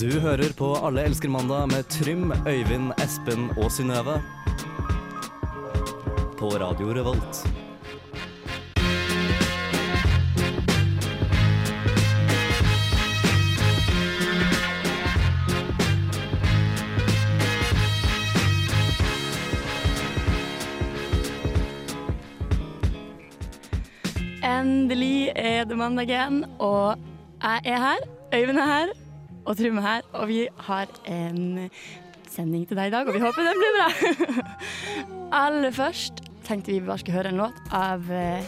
Du hører på Alle elsker mandag med Trym, Øyvind, Espen og Synnøve. På Radio Revolt. Endelig er det mandag igjen, og jeg er her. Øyvind er her, og Trym er her. Og vi har en sending til deg i dag, og vi håper den blir bra. Aller først tenkte vi bare skulle høre en låt av eh,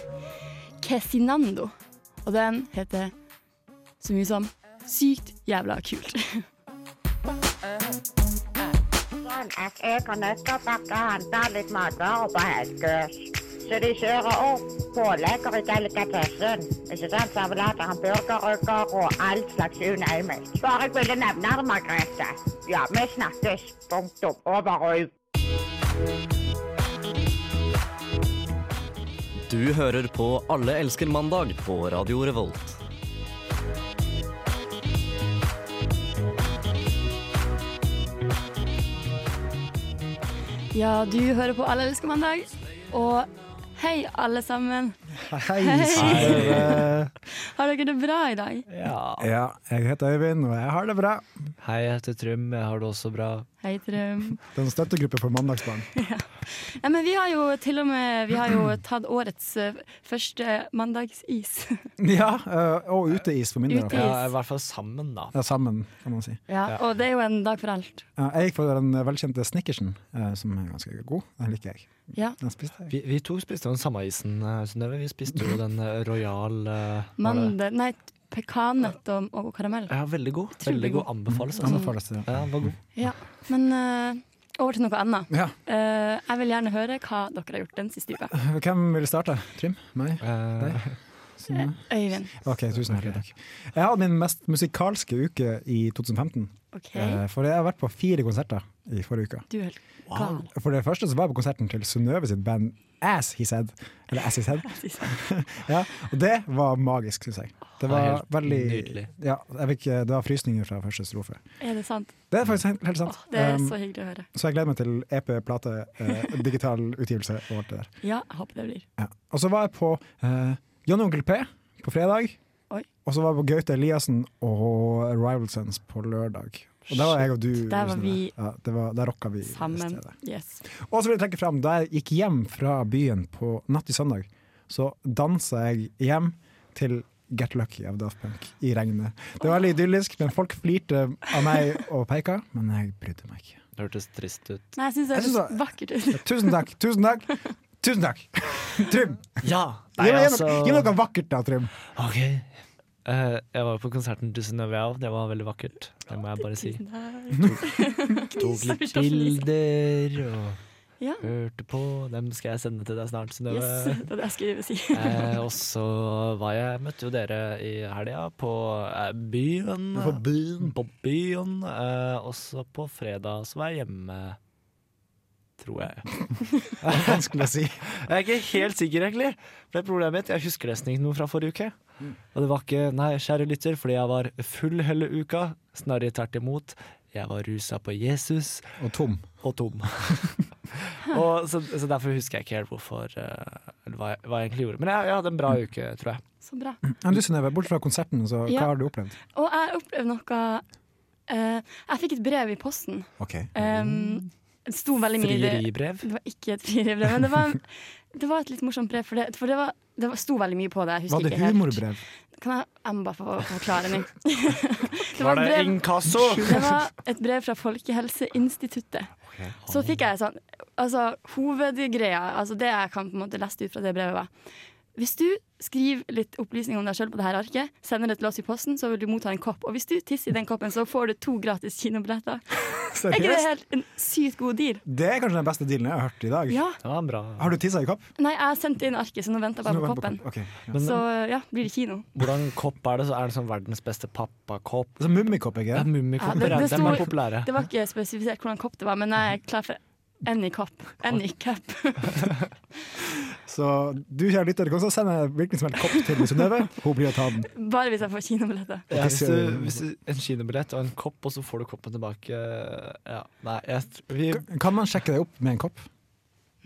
Kesinando. Og den heter så mye som Sykt jævla kult. sånn at jeg og Nøkkerbakke handler litt matvarer på Helgøs. Så de kjører opp pålegger i delikatessen. Ikke sant? Servelater, hamburgerrygger og all slags you name it. Bare jeg ville nevne det, Margrethe. Ja, vi snakkes. Punktum. Over og ut. Du hører på Alle elsker mandag på Radio Revolt. Ja, du hører på Alle elsker mandag, og hei, alle sammen. Hei, Hei. Synnøve. Har dere det bra i dag? Ja, jeg heter Øyvind, og jeg har det bra. Hei, jeg heter Trym. Jeg har det også bra. Hei, Trym. Det er en støttegruppe for mandagsbarn. Ja, men vi har jo til og med Vi har jo tatt årets eh, første mandagsis. Ja, eh, og uteis for min del. Uteis. Ja. Ja, I hvert fall sammen, da. Ja, sammen, kan man si. Ja, og det er jo en dag for alt. Ja, Jeg gikk for den velkjente snickersen, eh, som er ganske god. Den liker jeg. Ja. Den spiste jeg. Vi, vi to spiste jo den samme isen, eh, Synnøve. Vi spiste jo den eh, Royal eh, var det- Mandel Nei, pekannøtt og, og karamell. Ja, veldig god. Utrolig Veldig god. god. Anbefales, altså. Anbefales det. Ja, den var god. Ja. Men eh, over til noe annet. Ja, Eh, jeg vil gjerne høre hva dere har gjort den siste uka. hvem vil starte? Trym? Meg? Eh, Synnøve? Øyvind. Ok, tusen hjertelig takk. Jeg hadde min mest musikalske uke i 2015. OK. eh, For jeg har vært på fire konserter i forrige uke. Du er helt gal. For det første så var jeg på konserten til Synnøve sitt band As He Said. Eller As He Said. Ja, og det var magisk, syns jeg. Det Det er var helt veldig nydelig. Ja, jeg fikk, eh, det var frysninger fra første strofe. Er det sant? Det er faktisk helt, helt sant. Åh, det er Um, så hyggelig å høre. så jeg gleder meg til EP, plate, eh, digital utgivelse og alt det der. Ja, jeg håper det blir. Ja. Og så var jeg på eh, John Onkel P på fredag. Oi. Og så var jeg på Gaute Eliassen og Rival Sons på lørdag. Og der var jeg og du. Der var Synnøve. vi ja, det var, der rocka vi Sammen. stedet. Yes. Og så vil jeg trekke fram da jeg gikk hjem fra byen på natt til søndag, så dansa jeg hjem til Get Lucky av Daft Punk i regnet. Det var veldig idyllisk, men folk flirte av meg og peika, men jeg brydde meg ikke. det hørtes trist ut. Nei, jeg syns det Jeg synes høres det- vakkert ut. Tusen takk, tusen takk, tusen takk! Trym! Ja! Gi meg- gi altså- meg- gi meg noe vakkert da, Trym. OK. Eh, jeg var på konserten til Synnøve, jeg òg. Det var veldig vakkert. Det må jeg bare si. Tusen takk. Tok litt Sorry, Sofie. bilder og Ja. hørte på. Dem skal jeg sende til deg snart, Synnøve. Yes, det var det jeg skulle si. Eh, og så var jeg, møtte jo dere i helga på eh, byen. På byen. På byen. Eh, og så på fredag så var jeg hjemme, tror jeg. Det er vanskelig å si. Jeg er ikke helt sikker, egentlig. Det er problemet mitt. Jeg husker nesten ikke noe fra forrige uke. Og det var ikke Nei, kjære lytter, fordi jeg var full hele uka. Snarere tvert imot. Jeg var rusa på Jesus Og tom. og tom. og så, så derfor husker jeg ikke helt hvorfor eh, eller hva, jeg, hva jeg egentlig gjorde. Men jeg, jeg hadde en bra uke, tror jeg. Så bra. Men du Synnøve, bort fra konserten, så Ja. hva har du opplevd? Og jeg opplevde noe eh, Jeg fikk et brev i posten. Um, det sto veldig mye i det. Frieribrev. Det var ikke et frieribrev, men det var, det var et litt morsomt brev. For det, for det, var, det var, sto veldig mye på det. Jeg husker Var det ikke helt. humorbrev? Kan jeg, jeg må bare få få forklare meg? det, et Var det brev- inkasso? det var et brev fra Folkehelseinstituttet. Så fikk jeg sånn Altså, hovedgreia, altså det jeg kan på en måte leste ut fra det brevet, var Hvis du skriver litt opplysninger om deg sjøl på det her arket, sender det til oss i posten, så vil du motta en kopp. Og hvis du tisser i den koppen, så får du to gratis kinobilletter. Er ikke det Seriøst? helt en sykt god deal? Det er kanskje den beste dealen jeg har hørt i dag. Ja. Det var en bra. Har du tissa i kopp? Nei, jeg har sendt inn arket, så nå venter jeg bare på koppen. Ok, ja. Men Så ja, blir det kino. hvordan kopp er det? Så er det sånn verdens beste pappakopp? Så mummikopp, ikke Ja, det? Mummikopper Ja, det- er det de er sto- populære. Det var ikke spesifisert hvordan kopp det var, men jeg er klar for Anycop. Anycap. Så du kjære lytter, kan også sende hvilken som helst kopp til Synnøve. Hun blir å ta den. Bare hvis jeg får kinobilletter. Ja, hvis du, sier- hvis du, en kinobillett og en kopp, og så får du koppen tilbake ja, Nei, jeg, vi, Kan man sjekke deg opp med en kopp?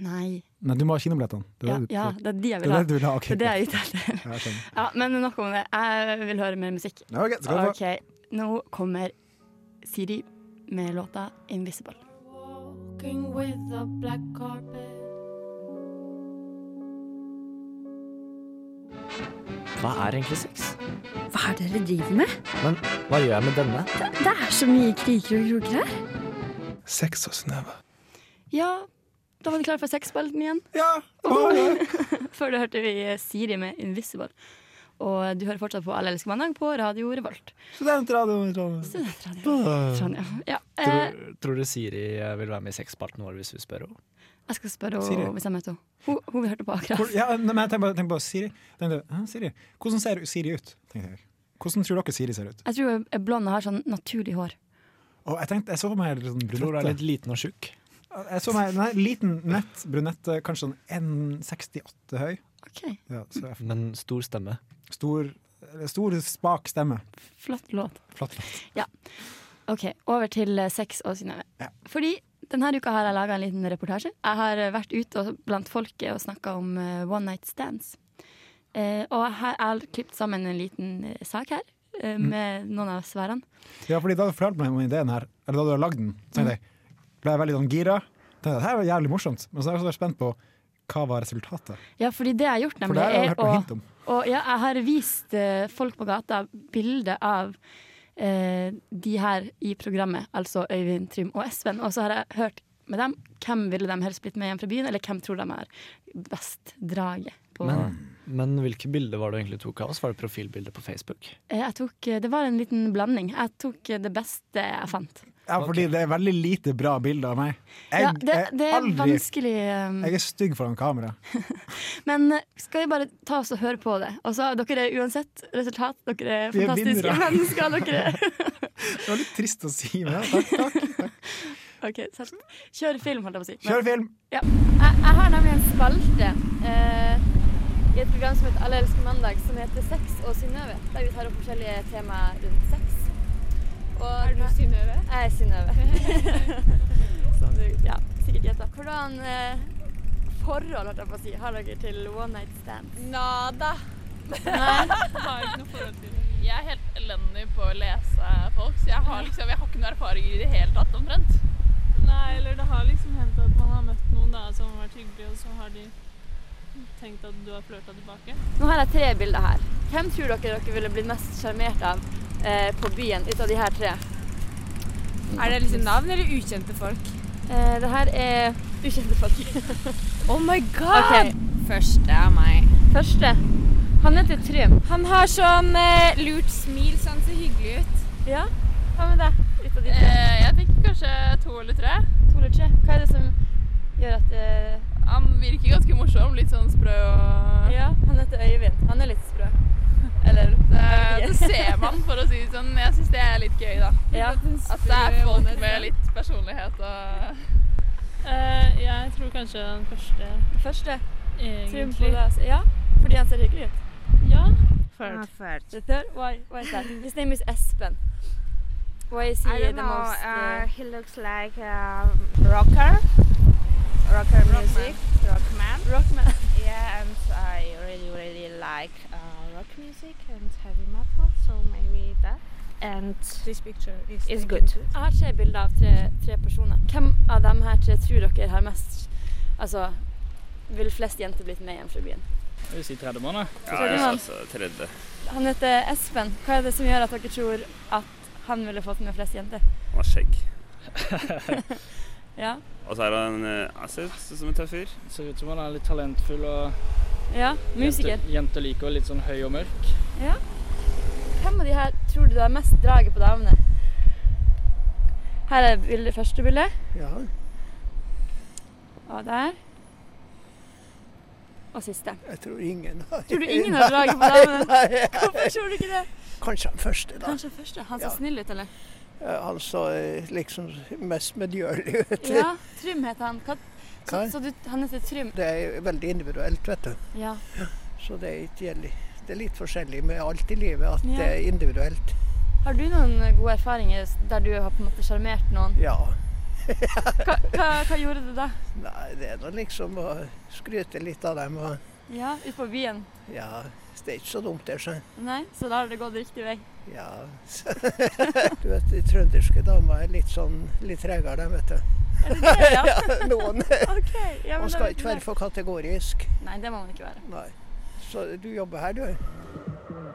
Nei. Nei, du må ha kinobillettene. Det Ja, er det du- ja, det er de jeg det vil er ha. det du vil ha. ok. Det er det jeg er ute etter. Ja, jeg skjønner. Ja, men nok om det. Jeg vil høre mer musikk. Ja, ok, skal vi få- OK, nå kommer Siri med låta 'Invisible'. Walking with the black carpet. hva er egentlig sex? Hva er det dere driver med? Men hva gjør jeg med denne? Det, det er så mye kriker og kroker her. Sex og Synnøve. Ja, da var du klar for sexspalten igjen. Ja! Åh! Før det hørte vi Siri med 'Invisible'. Og du hører fortsatt på Alle elsker mandag på Radio Revolt. Studentradio. Trondheim. Studentradio Trondheim. Ja, eh, Tror, tror du Siri eh, vil være med i sexspalten vår hvis vi spør henne? jeg skal spørre Siri. henne hvis jeg møter henne. Hun, hun vi hørte på akkurat. Hvor- Ja, nei, men tenk på, tenk på Siri. Tenkte, jeg, «Hæ, Siri. Hvordan ser Siri ut? Tenkte jeg. Hvordan tror dere Siri ser ut? Jeg tror hun er blond og har sånn naturlig hår. Og jeg tenkte, jeg så for meg sånn Tror du hun er brunette. litt liten og tjukk? Jeg så meg nei, liten, nett brunette, kanskje sånn 1,68 høy. Ok, Ja, så jeg, Men stor stemme. stor, eller stor, spak stemme. Flott låt. Flott. flott. Ok, Over til eh, sex og Synnøve. Ja. Fordi denne uka har jeg laga en liten reportasje. Jeg har eh, vært ute og- blant folket og snakka om eh, one night stands. Eh, og her jeg har klippet sammen en liten eh, sak her eh, med noen av svarene. Ja, fordi da du fortalte meg om ideen her, eller da du hadde lagd den, tenkte jeg, ble jeg veldig sånn gira. Tenkte jeg, det her var jævlig morsomt. Men så er jeg så spent på hva var resultatet. Ja, fordi det jeg har gjort, For nemlig, det har jeg er hørt noe hint om. Og ja, jeg har vist eh, folk på gata bilder av eh, de her i programmet, altså Øyvind, Trym og Espen. Og så har jeg hørt med dem hvem ville de helst blitt med hjem fra byen, eller hvem tror de er best draget på. Men, men hvilke bilder var det du egentlig tok av oss? Var det profilbilder på Facebook? Eh, jeg tok, eh, det var en liten blanding. Jeg tok eh, det beste jeg fant. Ja, fordi det er veldig lite bra bilder av meg. Jeg ja, det, det er er aldri... vanskelig. eh, Jeg er stygg foran kamera. Men eh, skal vi bare ta oss og høre på det? Og så dere er uansett resultat. Dere er Vi er fantastiske vinnere. mennesker. Dere Det var litt trist å si, men ja, takk, takk. takk. Ok, sett. Kjør film, holdt jeg på å si. Men- Kjør film! Jeg, jeg har nemlig en spalte eh, i et program som heter Alle elsker mandag, som heter Sex og Synnøve. Der vi tar opp forskjellige temaer rundt sex. Og er du Synnøve? Jeg er Synnøve. som du ja, sikkert gjetta. Hvordan eh, forhold holdt jeg på å si, har dere til one night stands? Nada. har ikke noe forhold til Jeg er helt elendig på å lese folk, så jeg har, liksom, jeg har ikke noe erfaring i det hele tatt, omtrent. Nei, eller det har liksom hendt at man har møtt noen da, som har vært hyggelig, og så har de tenkt at du har flørta tilbake. Nå har jeg tre bilder her. Hvem tror dere dere ville blitt mest sjarmert av eh, på byen ut av de her tre? Er det liksom navn eller ukjente folk? Eh, det her er ukjente folk. Oh my Ok, Første er meg. Første. Han heter Trym. Han har sånn lurt smil, sånn ser hyggelig ut. Ja, hva med deg? Ut av de tre. Eh, jeg tenker kanskje to eller tre. To eller tre. Hva er det som gjør at eh, Han virker ganske morsom, litt sånn sprø og Eh, Ja, han heter Øyvind. Han er litt sprø. Eller det, det ser man, for å si det sånn. Jeg syns det er litt gøy, da. Ja. At det er folk med litt personlighet og Eh, Jeg tror kanskje den første, Første. Trym på egentlig. deg. Ja, fordi han ser hyggelig ut. Ja. The third, why, why is that? His name is Espen. Why is he the most eh, uh, he looks like a rocker. Rocker music. Rockman. rockman? Yeah, and I really, really like uh, rock music and heavy metal, so maybe that. And this picture is, good. Jeg har tre bilder av tre, tre personer. Hvem av dem her tre tror dere har mest Altså, vil flest jenter blitt med hjem fra byen? Vil du si tredjemann, da? Tredjemann. altså tredje. Han heter Espen. Hva er det som gjør at dere tror at han ville fått med flest jenter? Han har skjegg. Ja. Og så er han eh, Han ser ut som en tøff fyr. Ser ut som han er litt talentfull og ja. Musiker. Jenter liker litt sånn høy og mørk. Hvem av de her tror du har mest draget på damene? Her er bildet, første bildet. Og der. Og siste. Jeg tror ingen Tror du ingen har draget på damene? Hvorfor tror du ikke det? Kanskje den første, da. Kanskje første. Han ser snill ut, eller? eh, han så eh, liksom mest medgjørlig ut. Ja, Trym heter han. Hva, så, Hva? så du, han heter Trym? Det er veldig individuelt, vet du. Ja. Så det er ikke gjeldig. Det er litt forskjellig med alt i livet, at eh, Ja. det er individuelt. Har du noen gode erfaringer der du har på en måte sjarmert noen? Ja. Hva, hva, hva gjorde du da? Nei, det er nå liksom å skryte litt av dem. Og, Ja, Ute på byen? ja, det er ikke så dumt, det, skjønner Nei? Så da har det gått riktig vei? Ja. Du vet, de trønderske damer er litt sånn litt tregere, de, vet du. Er det det, ja? noen. Ok, ja, men Man da skal vet ikke vi være det. for kategorisk. Nei, det må man ikke være. Nei. Så du jobber her, du?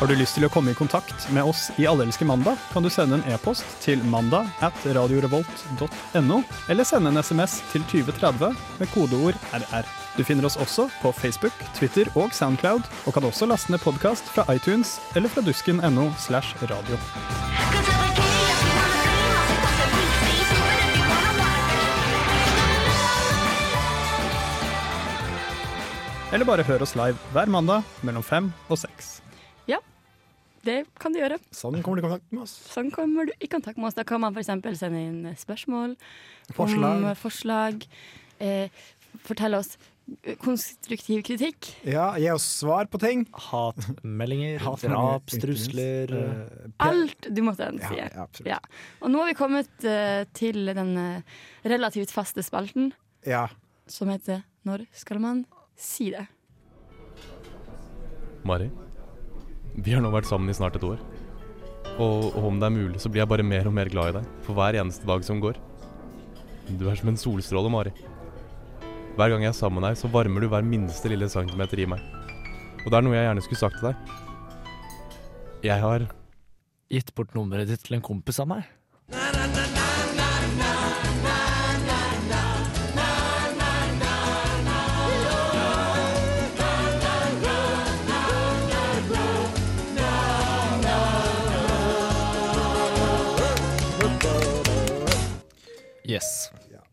Har du lyst til å komme i kontakt med oss i Allelske mandag, kan du sende en e-post til mandag at radiorevolt.no, eller sende en SMS til 2030 med kodeord RR. Du finner oss også på Facebook, Twitter og Soundcloud, og kan også laste ned podkast fra iTunes eller fra dusken.no slash radio. Eller bare hør oss live hver mandag mellom fem og seks. Ja, det kan du gjøre. Sånn kommer du i kontakt med oss. Sånn kommer du i kontakt med oss. Da kan man f.eks. sende inn spørsmål, om Forslag. forslag eh, fortelle oss konstruktiv kritikk. Ja, gi oss svar på ting. Hatmeldinger, Hatmeldinger, drapstrusler eh, Alt du måtte ønske. Ja, ja, absolutt. Ja. Og nå har vi kommet eh, til den eh, relativt faste spalten Ja. som heter Når skal man si det? Mari, vi har nå vært sammen i snart et år. Og, og om det er mulig, så blir jeg bare mer og mer glad i deg for hver eneste dag som går. Du er som en solstråle, Mari. Hver gang jeg er sammen med deg, så varmer du hver minste lille centimeter i meg. Og det er noe jeg gjerne skulle sagt til deg. Jeg har Gitt bort nummeret ditt til en kompis av meg. Yes.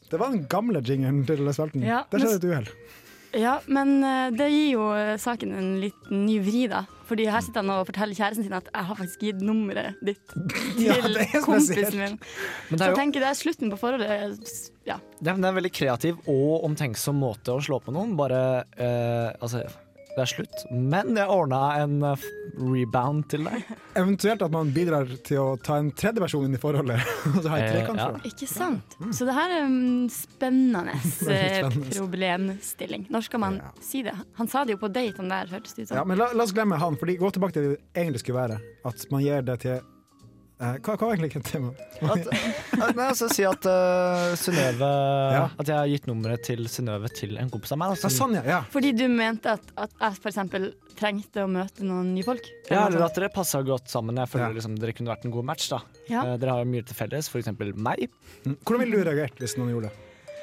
Det var den gamle jingeren til spalten. Ja, det men- skjedde et uhell. Ja, men eh, det gir jo eh, saken en liten ny vri, da. Fordi her sitter han og forteller kjæresten sin at 'jeg har faktisk gitt nummeret ditt til Ja, det er spesielt. kompisen min'. Men det Så er jeg jo- tenker det er slutten på forholdet. Ja. Det er, det er en veldig kreativ og omtenksom måte å slå på noen. Bare eh, Altså, det er slutt. Men jeg ordna en eh, rebound til deg. Eventuelt at man bidrar til å ta en tredje versjon inn i forholdet. Og så ha en Eh, trekant ja. for det. Ikke sant? Mm. Så det her er en spennende eh, Veldig spennende. problemstilling. Når skal man si det? Han sa det jo på daten der, hørtes det ut som. Ja, men la, la oss glemme han, fordi gå tilbake til det det egentlig skulle være. At man gir det til eh, Hva, hva var egentlig ikke temaet? At, nei, altså, si at eh, Synnøve Ja. sånn. At jeg har gitt nummeret til Synnøve til en kompis av meg. da, som- Fordi du mente at, at jeg f.eks. trengte å møte noen nye folk? Ja, eller sånn. at dere passer godt sammen. Jeg føler liksom dere kunne vært en god match. da Ja. Eh, Dere har mye til felles, f.eks. meg. Hvordan ville du reagert hvis noen gjorde det?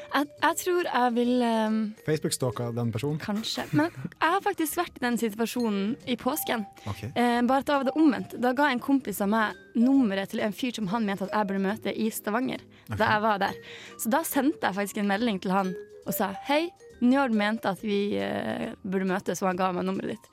Jeg, jeg tror jeg vil eh, Facebook-stalka den personen? Kanskje. Men jeg har faktisk vært i den situasjonen i påsken. Ok. Eh, bare at da var det omvendt. Da ga en kompis av meg nummeret til en fyr som han mente at jeg burde møte i Stavanger. Da jeg var der. Så da sendte jeg faktisk en melding til han og sa hei, Njord mente at vi eh, burde møtes, og han ga meg nummeret ditt.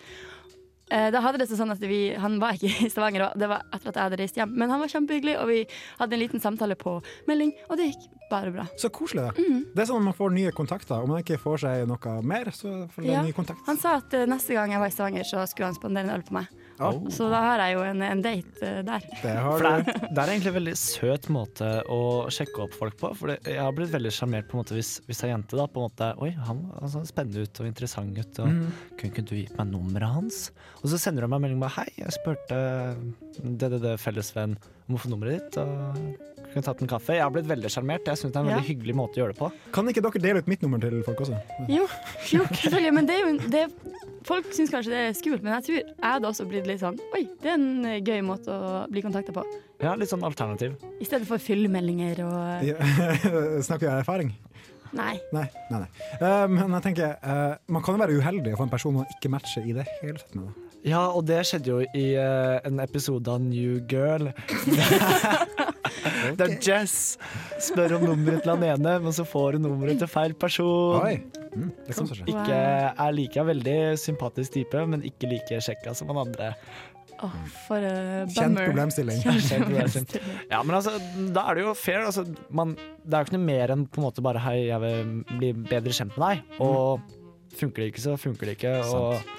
Eh, Da hadde det seg sånn at vi, Han var ikke i Stavanger, og det var etter at jeg hadde reist hjem. Men han var kjempehyggelig, og vi hadde en liten samtale på melding, og det gikk bare bra. Så koselig. Det Mm. Det er sånn at man får nye kontakter. Om man ikke får seg noe mer, så får man Ja. ny kontakt. Han sa at eh, neste gang jeg var i Stavanger, så skulle han spandere en øl på meg. Oh. Så da har jeg jo en, en date eh, der. For det, er, det er egentlig en veldig søt måte å sjekke opp folk på. For det- jeg har blitt veldig sjarmert på en måte hvis, hvis ei jente da på en måte Oi, han han så spennende ut og interessant ut. Og, Mm. Mhm. Kunne ikke du gitt meg nummeret hans? Og så sender hun meg en melding med Hei, jeg spurte eh, DDD fellesvenn om å få nummeret ditt. Og kunne tatt en kaffe. Jeg har blitt veldig sjarmert. Jeg syns det er en veldig Ja. hyggelig måte å gjøre det på. Kan ikke dere dele ut mitt nummer til folk også? Jo, jo selvfølgelig. Men det er jo en- det, folk syns kanskje det er skummelt, men jeg tror jeg hadde også blitt litt sånn Oi, det er en eh, gøy måte å bli kontakta på. Ja, Litt sånn alternativ. I stedet for fyllemeldinger og Ja. Snakker vi av erfaring? Nei. Nei. nei, nei. Eh, men jeg tenker, eh, man kan jo være uheldig og få en person man ikke matcher i det hele tatt med. da. Ja, og det skjedde jo i eh, en episode av New Girl. Det er Jess. Spør om nummeret til han ene, men så får hun nummeret til feil person. Oi. Mm, det kan Som skje. ikke er like veldig sympatisk type, men ikke like sjekka som han andre. Åh, for uh, Kjent bummer. problemstilling. Kjent problemstilling. problemstilling. Ja, men altså, da er det jo fair. Altså, man, det er jo ikke noe mer enn på en måte bare hei, jeg vil bli bedre kjent med deg. Og funker det ikke, så funker det ikke. Og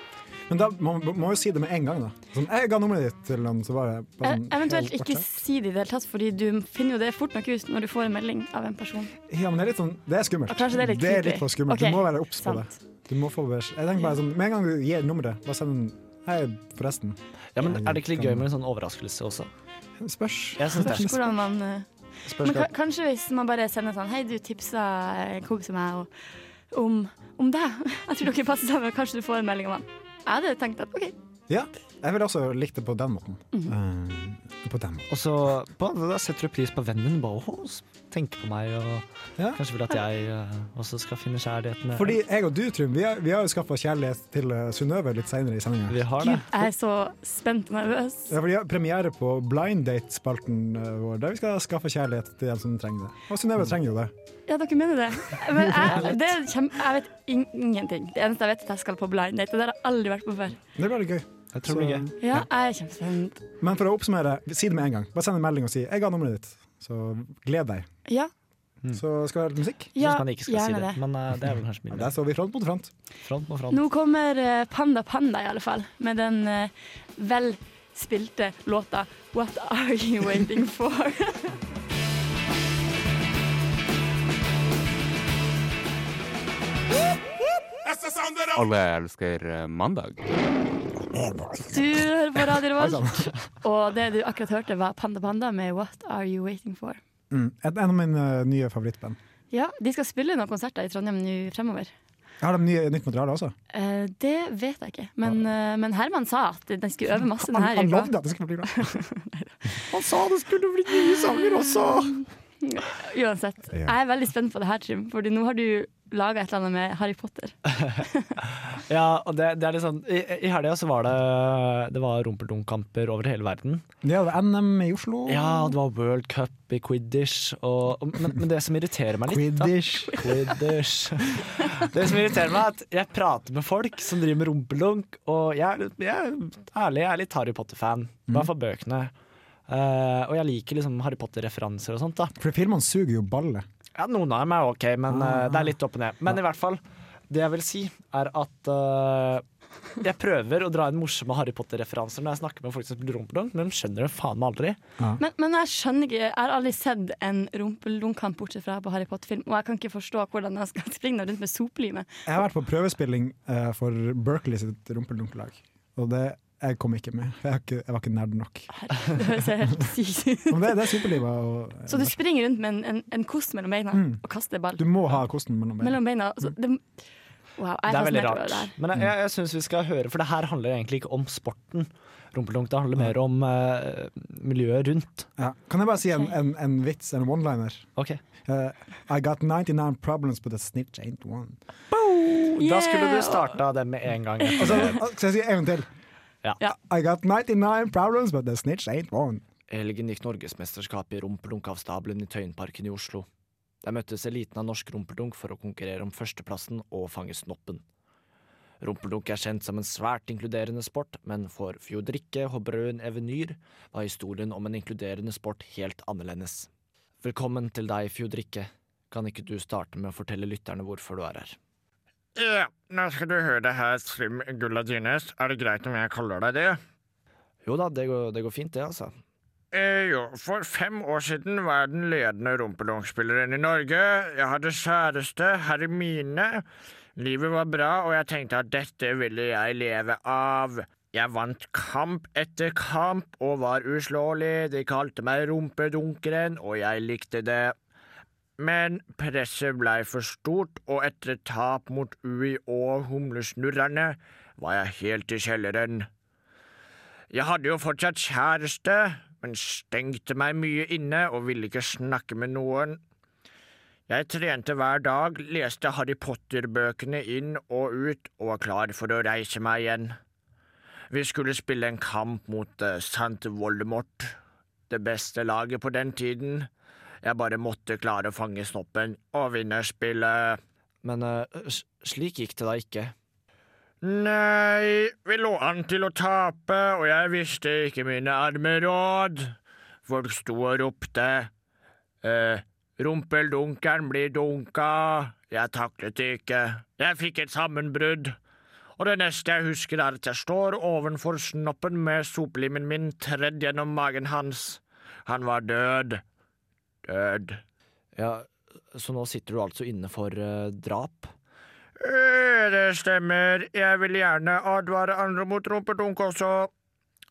Men da må man må jo si det med en gang, da. Sånn, jeg ga nummeret ditt til han, så bare, bare E- sånn, Eventuelt helt ikke borte. si det i det hele tatt, Fordi du finner jo det fort nok ut når du får en melding av en person. Ja, men det er litt sånn Det er skummelt. Og kanskje det er litt creepy. for skummelt. Ok, Du må være obs på det. sant. Du må få beskjed. Jeg tenker bare sånn Med en gang du gir nummeret, bare send en Hei, forresten. Ja, men er det ikke litt gøy med en sånn overraskelse også? Spørs. Jeg synes det. Spørs hvordan man eh, Spørs Men ka hva- kanskje hvis man bare sender sånn Hei, du tipsa en kompis av meg og- om, om deg. Jeg tror dere passer sammen. Kanskje du får en melding om han. Jeg hadde tenkt at OK. Ja. Jeg ville også likt det på den måten. Mhm. Eh, på den måten. Og så på, da setter du pris på vennen din. Bare, «Åh, tenker på meg, og kanskje vil at jeg eh, også skal finne kjærligheten. Fordi jeg og du, Trym, vi har, vi har jo skaffa kjærlighet til eh, Synnøve litt seinere i sendinga. Vi har Gud, jeg er så spent og nervøs. Ja, for de har premiere på Blind Date-spalten eh, vår, der vi skal skaffe kjærlighet til dem som trenger det. Og Mm. Synnøve trenger jo det. Ja, dere mener det. Men jeg, det er kjem, jeg vet ing- ingenting. Det eneste jeg vet, er at jeg skal på blind date. Og det har jeg aldri vært på før. Det blir veldig gøy. Jeg tror det blir gøy. Ja, jeg er kjempespent. Men for å oppsummere, si det med en gang. Bare send en melding og si 'jeg ga nummeret ditt', så gled deg. Ja. Så skal det være musikk. Ja, Synes man ikke skal si gjerne det, det. men eh, det er vel kanskje Der står vi front mot front. Front mot Nå kommer eh, Panda Panda, i alle fall, med den eh, velspilte låta 'What Are You Waiting For'. Alle elsker eh, mandag. Du hører på Radio Revolt, og det du akkurat hørte, var Panda Panda med 'What Are You Waiting For'. Mm. Et- En av mine eh, nye favorittband. Ja, De skal spille noen konserter i Trondheim nå fremover. Har de nye, nytt materiale også? Eh, det vet jeg ikke, men, eh, men Herman sa at den skulle øve masse denne han, han uka. lovde at det skulle bli bra. Han sa det skulle bli nye sanger også! Uansett. Ja. Jeg er veldig spent på det her, Trym, Fordi nå har du laga et eller annet med Harry Potter. Ja, og det, det er litt sånn I, i helga så var det Det var rumpeldunk-kamper over hele verden. Det var NM i Oslo. Ja, og det var World Cup i quidditch. Og, og, men, men det som irriterer meg litt da- Quidditch. quidditch. Det som irriterer meg, er at jeg prater med folk som driver med rumpeldunk, og jeg, er litt- jeg, er ærlig, jeg er litt Harry Potter-fan. I hvert fall bøkene. Eh, og jeg liker liksom Harry Potter-referanser og sånt. da For filmene suger jo balle. ja, noen av dem er ok, men eh, det er litt opp og ned. Men i hvert fall, det jeg vil si, er at eh, jeg prøver å dra inn morsomme Harry Potter-referanser når jeg snakker med folk som spiller rumpeldunk, men de skjønner det faen meg aldri. Men, men jeg skjønner ikke Jeg har aldri sett en rumpeldunkamp bortsett fra på Harry Potter-film, og jeg kan ikke forstå hvordan jeg skal springe rundt med sopelime. Jeg har vært på prøvespilling eh, for Berkeley sitt rumpeldunklag, og det jeg kom ikke med. Jeg, har ikke, jeg var ikke nerd nok. Det høres helt sykt ut. Men det, det er superlivet. Og, Så du springer rundt med en, en, en kost mellom beina Mm. og kaster ball du må ha kosten mellom beina. mellom beina. Altså, det, wow, jeg er, Det er veldig fascinert over det her. rart. Men jeg, jeg, jeg syns vi skal høre, for det her handler egentlig ikke om sporten. Rumpeldunk, det handler mer om eh, miljøet rundt. Ja. Kan jeg bare si en, en, en vits, en one-liner? Ok. Eh, I got 99 problems, but the snitch ain't one. Da skulle du starta det med en gang. Og Altså, så- og Altså, skal jeg si en til? Ja. I got 99 problems, but the snitch ain't one. Helgen gikk norgesmesterskapet i rumpeldunk av stabelen i Tøyenparken i Oslo. Der møttes eliten av norsk rumpeldunk for å konkurrere om førsteplassen og fange snoppen. Rumpeldunk er kjent som en svært inkluderende sport, men for Fjodrikke Hobrøen Evenyr var historien om en inkluderende sport helt annerledes. Velkommen til deg, Fjodrikke. Kan ikke du starte med å fortelle lytterne hvorfor du er her? Ja, nå skal du høre det her, Trym Gulladines. Er det greit om jeg kaller deg det? Jo da, det går, det går fint det, altså. Eh, jo, for fem år siden var jeg den ledende rumpeldongspilleren i Norge. Jeg hadde kjæreste, Hermine. Livet var bra, og jeg tenkte at dette ville jeg leve av. Jeg vant kamp etter kamp og var uslåelig. De kalte meg Rumpedunkeren, og jeg likte det. Men presset blei for stort, og etter tap mot Ui og Humlesnurrerne var jeg helt i kjelleren. Jeg hadde jo fortsatt kjæreste, men stengte meg mye inne og ville ikke snakke med noen. Jeg trente hver dag, leste Harry Potter-bøkene inn og ut og var klar for å reise meg igjen. Vi skulle spille en kamp mot eh, Sant Voldemort. det beste laget på den tiden. Jeg bare måtte klare å fange snoppen og vinne spillet. Men eh, slik gikk det da ikke? Nei, vi lå an til å tape, og jeg visste ikke mine arme råd. Folk sto og ropte. Eh, Rumpeldunkeren blir dunka. Jeg taklet det ikke. Jeg fikk et sammenbrudd. Og det neste jeg husker, er at jeg står ovenfor snoppen med soplimen min tredd gjennom magen hans. Han var død. Død. Ja, så nå sitter du altså inne for eh, drap? Eh, Det stemmer. Jeg vil gjerne advare andre mot rumpedunk også.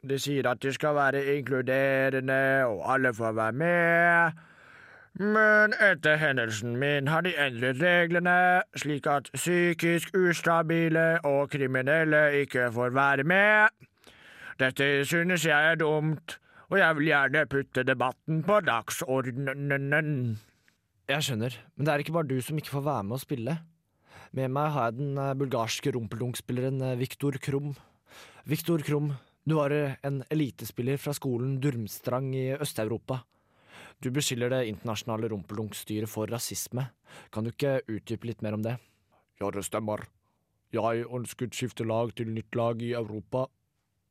De sier at de skal være inkluderende, og alle får være med. Men etter hendelsen min har de endret reglene, slik at psykisk ustabile og kriminelle ikke får være med. Dette synes jeg er dumt, og jeg vil gjerne putte debatten på dagsordenen. Jeg skjønner, men det er ikke bare du som ikke får være med å spille. Med meg har jeg den eh, bulgarske rumpeldunk-spilleren eh, Viktor Krum. Viktor Krum, du var eh, en elitespiller fra skolen Durmstrang i Øst-Europa. Du beskylder det internasjonale rumpeldunk-styret for rasisme. Kan du ikke utdype litt mer om det? Ja, det stemmer. Jeg ønsket skifte lag til nytt lag i Europa,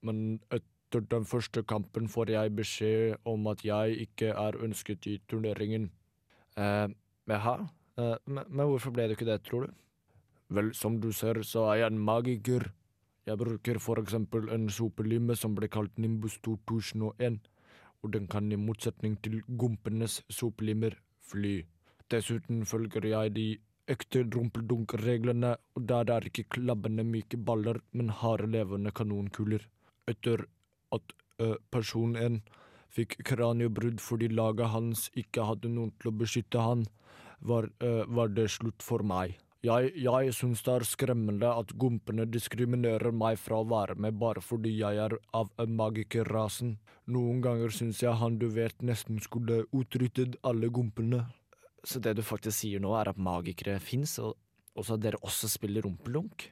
men etter den første kampen får jeg beskjed om at jeg ikke er ønsket i turneringen. Eh, jaha, eh, men, men hvorfor ble du ikke det, tror du? Vel, som du ser, så er jeg en magiker. Jeg bruker for eksempel en sopelime som ble kalt Nimbus 2001, og den kan i motsetning til gumpenes sopelimer fly. Dessuten følger jeg de ekte rumpeldunk-reglene, og der det er ikke klabbende myke baller, men harde levende kanonkuler. Etter at eh, person 1 fikk kraniebrudd fordi laget hans ikke hadde noen til å beskytte han, var, eh, var det slutt for meg. Jeg, jeg syns det er skremmende at gumpene diskriminerer meg fra å være med bare fordi jeg er av magikerrasen. Noen ganger syns jeg han du vet nesten skulle utryddet alle gumpene. Så det du faktisk sier nå er at magikere fins, og, og så at dere også spiller rumpelunk?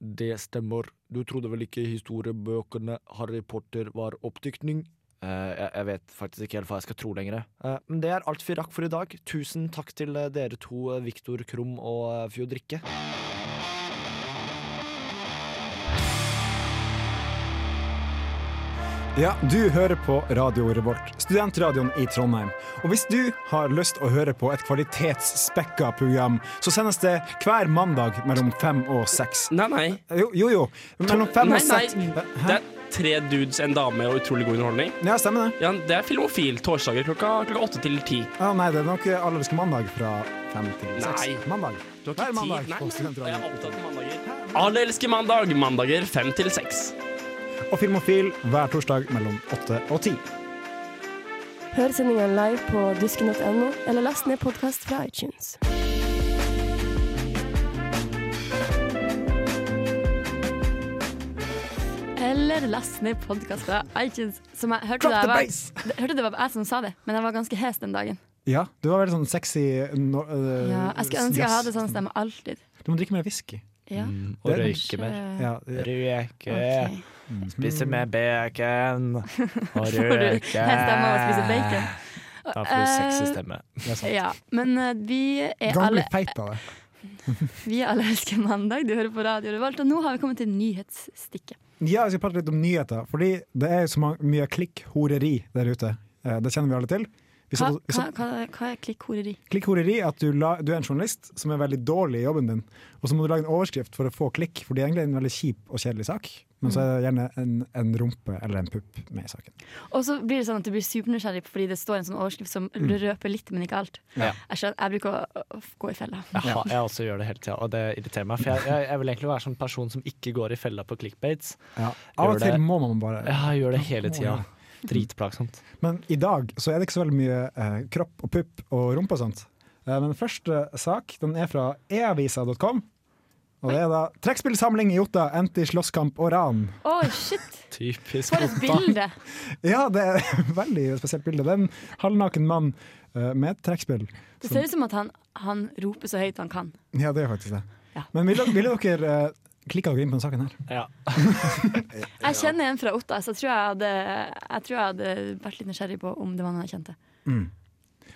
Det stemmer. Du trodde vel ikke historiebøkene Harry Potter var oppdiktning? Eh, jeg, jeg vet faktisk ikke helt hva jeg skal tro lenger. Eh, men det er alt vi rakk for i dag. Tusen takk til eh, dere to, eh, Viktor Krum og eh, Fjodrikke. Ja, du hører på Radio Revolt, studentradioen i Trondheim. Og hvis du har lyst å høre på et kvalitetsspekka program, så sendes det hver mandag mellom fem og seks. Eh, Nei, nei. Jo, jo. jo. Mellom fem nei, og nei. seks. Det er tre dudes, en dame og utrolig god underholdning. Ja, stemmer det. Ja, det er Filmofil torsdager klokka, klokka åtte til ti. Å nei, det er nok allerske mandag fra fem til seks. Nei. Mandag. Du har ikke Hver tid. mandag Nei, på studentradioen. Alle elsker mandag. Mandager fem til seks. Og Filmofil hver torsdag mellom åtte og ti. Hør sendingene live på dusken.no, eller last ned podkast fra iTunes. Eller last ned podkast fra iTunes. Som jeg hørte, Drop det, the var, bass! det- hørte det var jeg som sa det, men jeg var ganske hes den dagen. Ja, du var veldig sånn sexy no, øh, Ja, jeg skulle ønske jeg jazz. hadde sånn stemme alltid. Du må drikke mer whisky. Ja. Og Det er- røyke Mm. mer. Ja, Eh, ja. Røyke. Ok. Spise med bacon. Og Får du røyke. hest stemme av å spise bacon? Da får du sexy Eh, stemme. Ja, men eh, vi er Kan bli alle feit av det. Vi er Allerske mandag, du hører på Radio Revolt, og nå har vi kommet til nyhetsstikket. Ja, jeg skal prate litt om nyheter, fordi det er så ma- mye klikkhoreri der ute. Eh, Det kjenner vi alle til. Vi Hva, satt- vi hva, satt- hva, hva er klikkhoreri? Klikkhoreri er at du, la, du er en journalist som er veldig dårlig i jobben din, og så må du lage en overskrift for å få klikk, for det er egentlig en veldig kjip og kjedelig sak, men så er det gjerne en, en rumpe eller en pupp med i saken. Og så blir det sånn at du blir supernysgjerrig fordi det står en sånn overskrift som Mm. røper litt, men ikke alt. Ja. Jeg, skjønner, jeg bruker å, å gå i fella. Jeg, har, jeg også gjør det hele tida, og det irriterer meg. For jeg, jeg, jeg vil egentlig være sånn person som ikke går i fella på clickbaits. Ja. Av Gjør og til det- må man bare Ja, jeg gjør det hele Må tida. jeg. Dritplagsomt. Men i dag så er det ikke så veldig mye eh, kropp og pupp og rumpe og sånt. Eh, men første sak den er fra eavisa.com. Og det er da 'Trekkspillsamling i Jota endte i slåsskamp og ran'. Oi, shit! Typisk For et bilde! Ja, det er et veldig spesielt bilde. Det er en halvnaken mann eh, med et trekkspill. Det ser ut som at han, han roper så høyt han kan. Ja, det er faktisk det. Men ville, ville dere eh, klikka dere inn på denne saken her. Jeg kjenner en fra Otta, så jeg tror jeg hadde, jeg tror jeg hadde vært litt nysgjerrig på om det var noen jeg kjente. Mm.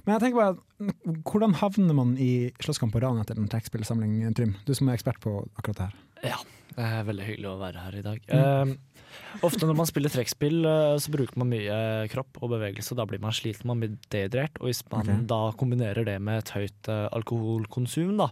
Men jeg tenker bare, mm, hvordan havner man i slåsskamp og ran etter en trekkspillsamling, eh, Trym? Du som er ekspert på akkurat det her. Ja, det er veldig hyggelig å være her i dag. Mm. Eh, ofte når man spiller trekkspill, eh, så bruker man mye kropp og bevegelse. Da blir man sliten, man blir dehydrert. Og hvis man Ok. da kombinerer det med et høyt eh, alkoholkonsum, da,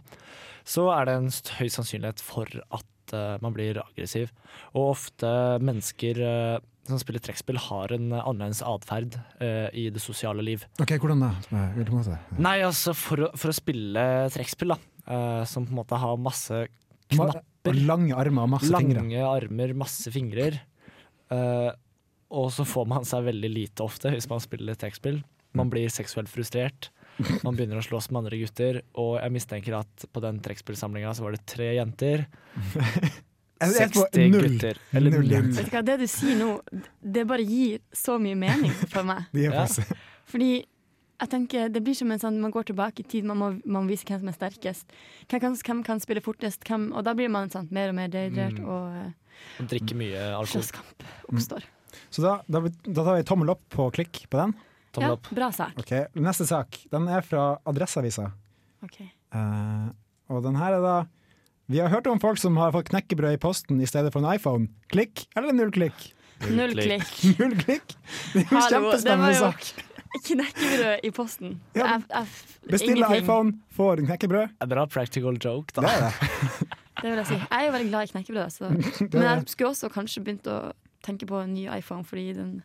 så er det en st- høy sannsynlighet for at eh, man blir aggressiv. Og ofte mennesker eh, som spiller trekkspill, har en eh, annerledes atferd eh, i det sosiale liv. Ok, hvordan da? Vil du måte? Nei, altså for, å- for å spille trekkspill, da, eh, som på en måte har masse knapper Lange armer og masse Lange fingre. armer, masse fingrer. Eh, og så får man seg veldig lite ofte hvis man spiller trekkspill. Man blir seksuelt frustrert. Man begynner å slåss med andre gutter, og jeg mistenker at på den trekkspillsamlinga så var det tre jenter. Jeg- jeg tror 60 null. gutter. Eller Null null. Vet du hva, Det du sier nå, det bare gir så mye mening for meg. Det gjør faktisk det. Fordi jeg tenker det blir som en sånn man går tilbake i tid, man må, man må vise hvem som er sterkest. Hvem kan, hvem kan spille fortest, hvem, og da blir man sånn mer og mer dehydrert. Mm. Og eh, Man drikker mye alkohol. slåsskamp Mm, oppstår. Så da, da, da tar vi tommel opp på klikk på den. Ja, bra sak. Ok, Neste sak. Den er fra Adresseavisa. Ok. Eh, og den her er da Vi har hørt om folk som har fått knekkebrød i posten i stedet for en iPhone. Klikk eller null klikk? Null klikk. null klikk. Det er jo Hallo, det var kjempespennende jo sak. Knekkebrød i posten. Jeg- jeg- Bestiller ingenting. iPhone, får knekkebrød. En bra practical joke, da. Det er det. Det vil jeg si. Jeg er jo veldig glad i knekkebrød, så. Det er men jeg det. skulle også kanskje begynt å tenke på en ny iPhone, fordi den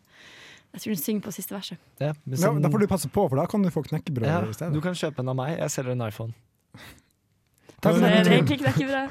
Jeg tror den synger på siste verset. Ja, men Ja, sånn- da får du passe på, for da kan du få knekkebrød Ja, i stedet. du kan kjøpe en av meg. Jeg selger en iPhone. Så Takk for det er den. egentlig knekkebrød.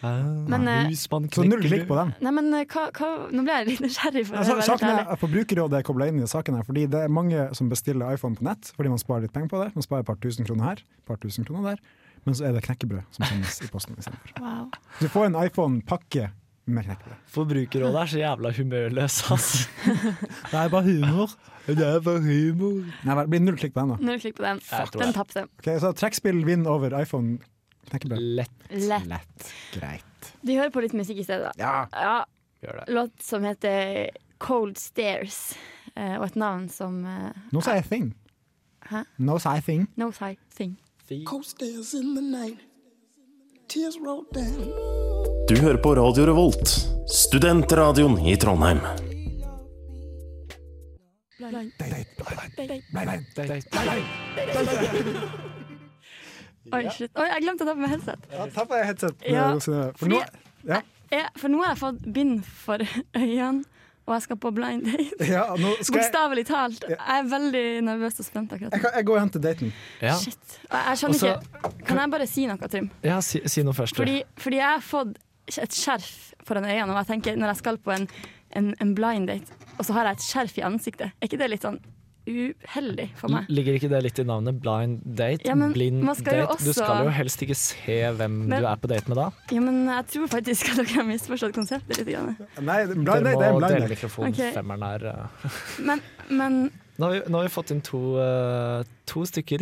Men, Ah, eh, husmann Så null knekker klikk du. på den. Nei, men eh, hva, hva Nå ble jeg litt nysgjerrig, for å Altså, være helt saken ærlig. er Forbrukerrådet er kobla inn i saken her, fordi det er mange som bestiller iPhone på nett fordi man sparer litt penger på det. Man sparer et par tusen kroner her, et par tusen kroner der. Men så er det knekkebrød som sendes i posten istedenfor. Wow. Du får en iPhone-pakke med knekkebrød. Forbrukerrådet er så jævla humørløs, ass. Det er bare humor. Det er bare humor. Nei, det blir null klikk på den, da. Null klikk på den. Jeg tror Den det. tapte. Ok, så trekkspill vinner over iPhone knekkebrød. Lett. Lett. Greit. Vi hører på litt musikk i stedet. Ja. Gjør det. Låt som heter Cold Stairs, eh, og et navn som eh, No say thing. Hæ? No say thing. No Side Thing. Cold stairs in the night. Tears roll down. Du hører på Radio Revolt, studentradioen i Trondheim. Oi, shit. Oi, jeg glemte å ta på meg headset. Ja, ta på deg headset. Ja, Nå, Sine. For fordi- nå, ja. Eh, For nå har jeg fått bind for øynene, og jeg skal på blind date. Ja, nå skal jeg, Bokstavelig talt. Jeg er veldig nervøs og spent akkurat jeg, nå. kan, jeg går og henter daten. Shit. Jeg- Jeg skjønner Og så- ikke Kan jeg bare si noe, Trym? Ja, si, si noe først. du. Fordi, fordi jeg har fått et skjerf foran øynene, og jeg tenker når jeg skal på en, en, en blind date, og så har jeg et skjerf i ansiktet, er ikke det litt sånn uheldig for meg? L- Ligger ikke det litt i navnet? Blind date? Ja, men blind man skal jo date? Du skal også- jo helst ikke se hvem Men- du er på date med da. Ja, men jeg tror faktisk at dere har misforstått konseptet litt. Grann. Nei, blind Dere date er må en blind dele date. mikrofonen. Ok. Femmeren er eh. Men, men nå, har vi, nå har vi fått inn to, eh, to stykker.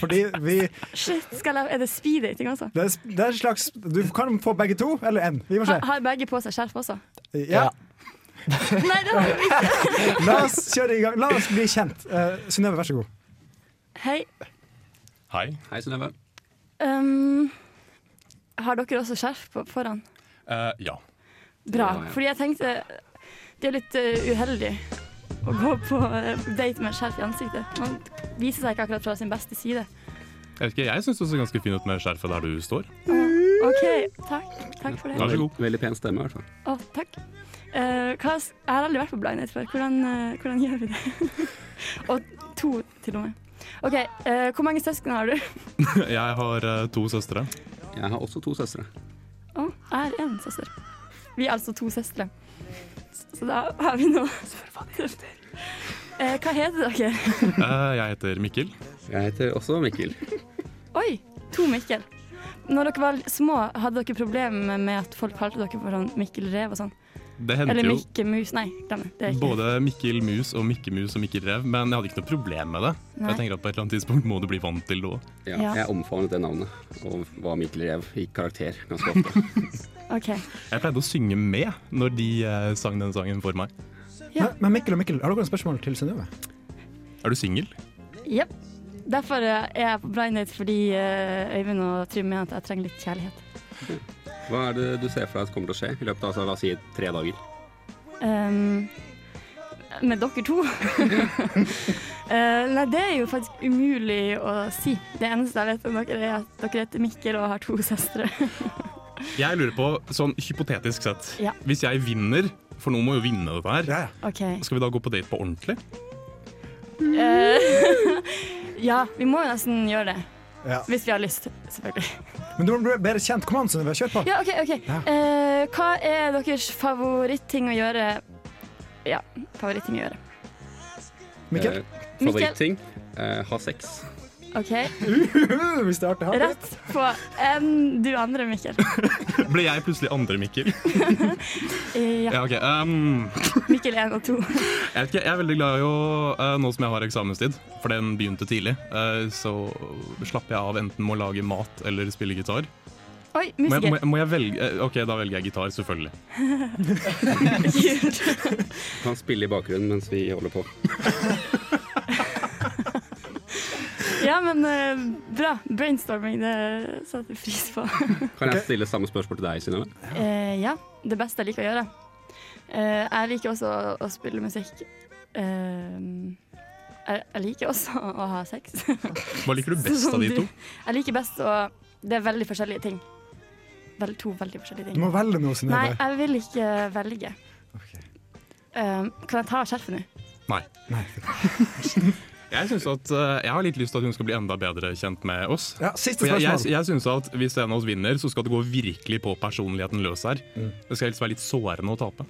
Fordi vi shit, skal jeg, er det speed dating også? det er, det er en slags Du kan få begge to, eller én. Vi får se. Har, har begge på seg skjerf også? Ja. Nei, det har vi ikke. La oss kjøre i gang. La oss bli kjent. Uh, Synnøve, vær så god. Hei. Hei. Hei, Synnøve. Um, har dere også skjerf på, foran? Eh, ja. Bra. Ja, ja. Fordi jeg tenkte det er litt eh, uheldig å gå på eh, date med skjerf i ansiktet. Man viser seg ikke akkurat fra sin beste side. Jeg vet ikke, jeg syns du ser ganske fin ut med skjerfet der du står. Ah, OK, takk. Takk for det. Vær så god. Veldig pen stemme, i hvert fall. Å, takk. Eh, hva, s- jeg har aldri vært på blind date før. Hvordan, eh, hvordan gjør vi det? og to, til og med. OK, eh, hvor mange søsken har du? Jeg har eh, to søstre. Jeg har også to søstre. Å, jeg er én søster. Vi er altså to søstre. Så da har vi noe Eh, Hva heter dere? Eh, jeg heter Mikkel. Jeg heter også Mikkel. Oi, to Mikkel. Når dere var små, hadde dere problemer med at folk kalte dere for sånn Mikkel Rev og sånn? Det hendte Eller jo Mikkemus, nei, glem det. det er ikke. både Mikkel Mus og Mikke Mus og Mikkel Rev, men jeg hadde ikke noe problem med det. Nei. Jeg tenker at På et eller annet tidspunkt må du bli vant til det òg. Ja, Ja. Jeg omfavnet det navnet, og var Mikkel Rev i karakter ganske ofte. Ok. Jeg pleide å synge med når de eh, sang den sangen for meg. Ja. Men Mikkel og Mikkel, har dere en spørsmål til Synnøve? Er du singel? Jepp. Derfor eh, er jeg på blind date fordi eh, Øyvind og Trym mener at jeg trenger litt kjærlighet. Hva er det du ser for deg at kommer til å skje i løpet av altså, la oss si, tre dager? Ehm, med dere to? Eh, nei, det er jo faktisk umulig å si. Det eneste jeg vet om dere, er at dere heter Mikkel og har to søstre. Jeg lurer på, sånn hypotetisk sett, Ja. hvis jeg vinner, for noen må jo vinne dette her, OK. skal vi da gå på date på ordentlig? Eh, ja, vi må jo nesten gjøre det. Ja. Hvis vi har lyst, selvfølgelig. Men du må bli bedre kjent. Kom an, Synnøve, kjør på. Ja, OK. ok. Ja. Eh, hva er deres favoritting å gjøre Ja, favoritting å gjøre. Mikkel? Eh, Favorittting? Eh, ha sex. OK. Hvis det er artig å ha det. Rett på enn du andre, Mikkel. Ble jeg plutselig andre, Mikkel? Eh, Ja. Ja, ok. ehm, Mikkel 1 og 2. jeg vet ikke, jeg er veldig glad i å, eh, nå som jeg har eksamenstid, for den begynte tidlig, eh, så slapper jeg av enten med å lage mat eller spille gitar. Oi, Må jeg, må musiker. jeg, må jeg velge? eh, Ok, da velger jeg gitar, selvfølgelig. Kan spille i bakgrunnen mens vi holder på. Ja, men eh, bra. Brainstorming, det satte jeg pris på. Kan jeg stille samme spørsmål til deg, Synnøve? Eh, ja, det beste jeg liker å gjøre. Eh, jeg liker også å, å spille musikk. Eh, jeg, jeg liker også å ha sex. Hva liker du best av de to? Jeg liker best å Det er veldig forskjellige ting. Vel, to veldig forskjellige ting. Du må velge noe, Nei, Synnøve. jeg vil ikke velge. Eh, kan jeg ta skjerfet nå? Nei. Jeg synes at eh, jeg har litt lyst til at hun skal bli enda bedre kjent med oss. Ja, siste For jeg, jeg, spørsmål. jeg synes at Hvis en av oss vinner, så skal det gå virkelig på personligheten løs her. Det skal helst være litt sårende å tape.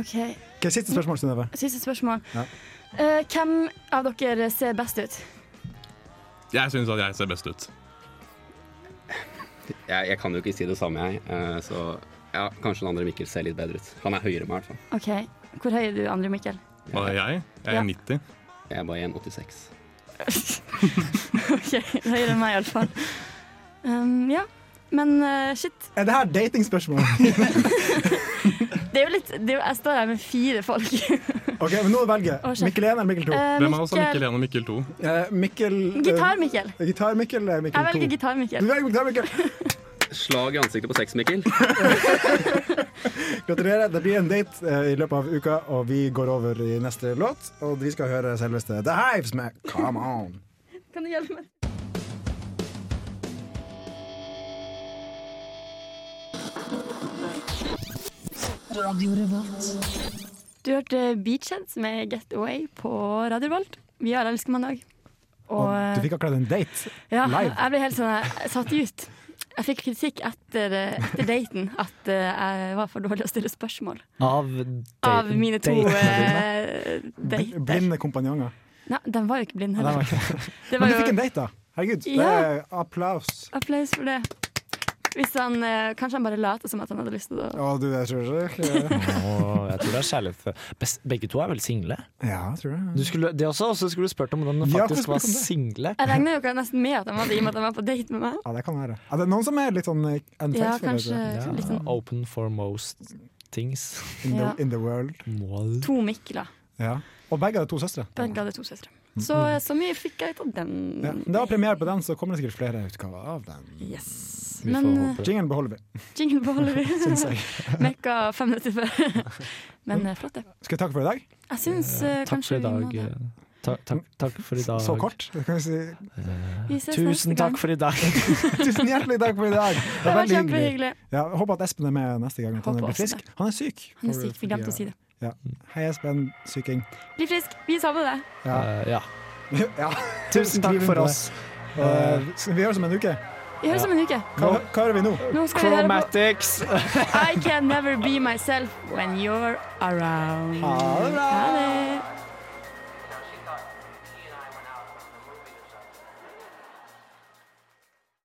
OK, Ok, Siste spørsmål, Synnøve. siste spørsmål. Ja. Eh, hvem av dere ser best ut? Jeg synes at jeg ser best ut. Jeg, jeg kan jo ikke si det samme, jeg. eh, så ja, kanskje den andre Mikkel ser litt bedre ut. Han er høyere enn meg, i hvert fall. OK, hvor høy er du, Andre Mikkel? Hva er jeg? Jeg Ja. er 90. Jeg er bare 1,86. OK, høyere enn meg iallfall. Um, ja, men eh, shit. Er det her datingspørsmål? Det er jo litt det er jo, Jeg står her med fire folk. Ok, men nå velger Å, jeg. sjef. Mikkel 1 eller Mikkel 2? Eh, Hvem av oss er Mikkel- Mikkel 1 og Mikkel 2? Mikkel Gitar-Mikkel. Gitar-Mikkel eller Mikkel 2? Jeg velger Du Gitar-Mikkel. velger Gitar-Mikkel. Slag i ansiktet på sex, Mikkel. Gratulerer. Det blir en date eh, i løpet av uka, og vi går over i neste låt. Og vi skal høre selveste The Hives med Come On. Kan du hjelpe meg? Du hørte Beachheads med Get Away på Radio Volt. Vi har Elsker mandag. eh, Og du fikk akkurat en date Ja, live. jeg ble helt sånn jeg satt ut. Jeg fikk kritikk etter, etter daten at eh, jeg var for dårlig å stille spørsmål. Av, date- Av mine to daten. eh, Bl- dater. Blinde kompanjonger. Nei, den var jo ikke blind Ja, det var heller. ikke- Det var Men du jo- fikk en date, da. Herregud. Det Ja. er applaus. Applaus for det. Hvis han, eh, kanskje han bare later som at han hadde lyst til å Å, du, jeg tror ikke Åh, jeg tror det er kjærlighet for Bes- Begge to er vel single? Ja, jeg tror det. Du skulle, det også, og så skulle du spurt om hvordan de Ja, faktisk hvorfor var spurte om det? single. Jeg regner jo ikke nesten med at han var det, i og med at han var på date med meg. Ja, det kan være. Er det noen som er litt sånn eh, unfaithful? Ja, vet du? kanskje litt sånn Open for most things. In the, Ja. in the world. to Mikler. Ja. Og begge hadde to søstre. Begge hadde to søstre. Så eh, så mye fikk jeg ut av den. Mm. Ja. men Det var premiere på den, så kommer det sikkert flere utgaver av den. Yes. Vi får Men, håpe det. Jingen beholder vi. Jingle beholder Syns vi. jeg. Mekka fem minutter før. Men eh, flott, det. Skal vi takke for i dag? Jeg syns eh, Takk kanskje for i vi må dag. det. Takk, takk, takk for i dag. Så kort? Det Kan vi si. Vi ses neste Eh, Tusen gang. takk for i dag. Tusen hjertelig takk for i dag! Det var veldig kjempehyggelig. Ja, jeg håper at Espen er med neste gang. At han Håper blir også frisk. det. Han er syk. Han er syk, vi glemte å si det. Ja. Hei, Espen. Syking. Bli frisk. Vi er sammen med deg. Ja. Eh, ja. ja. Tusen takk Skriv inn for på det. oss. Eh, vi høres om en uke. Vi høres om en uke. Hva, hva hører vi nå? Nå skal vi høre på Chromatics. I can never be myself when you're around. Ha det bra. Ha det.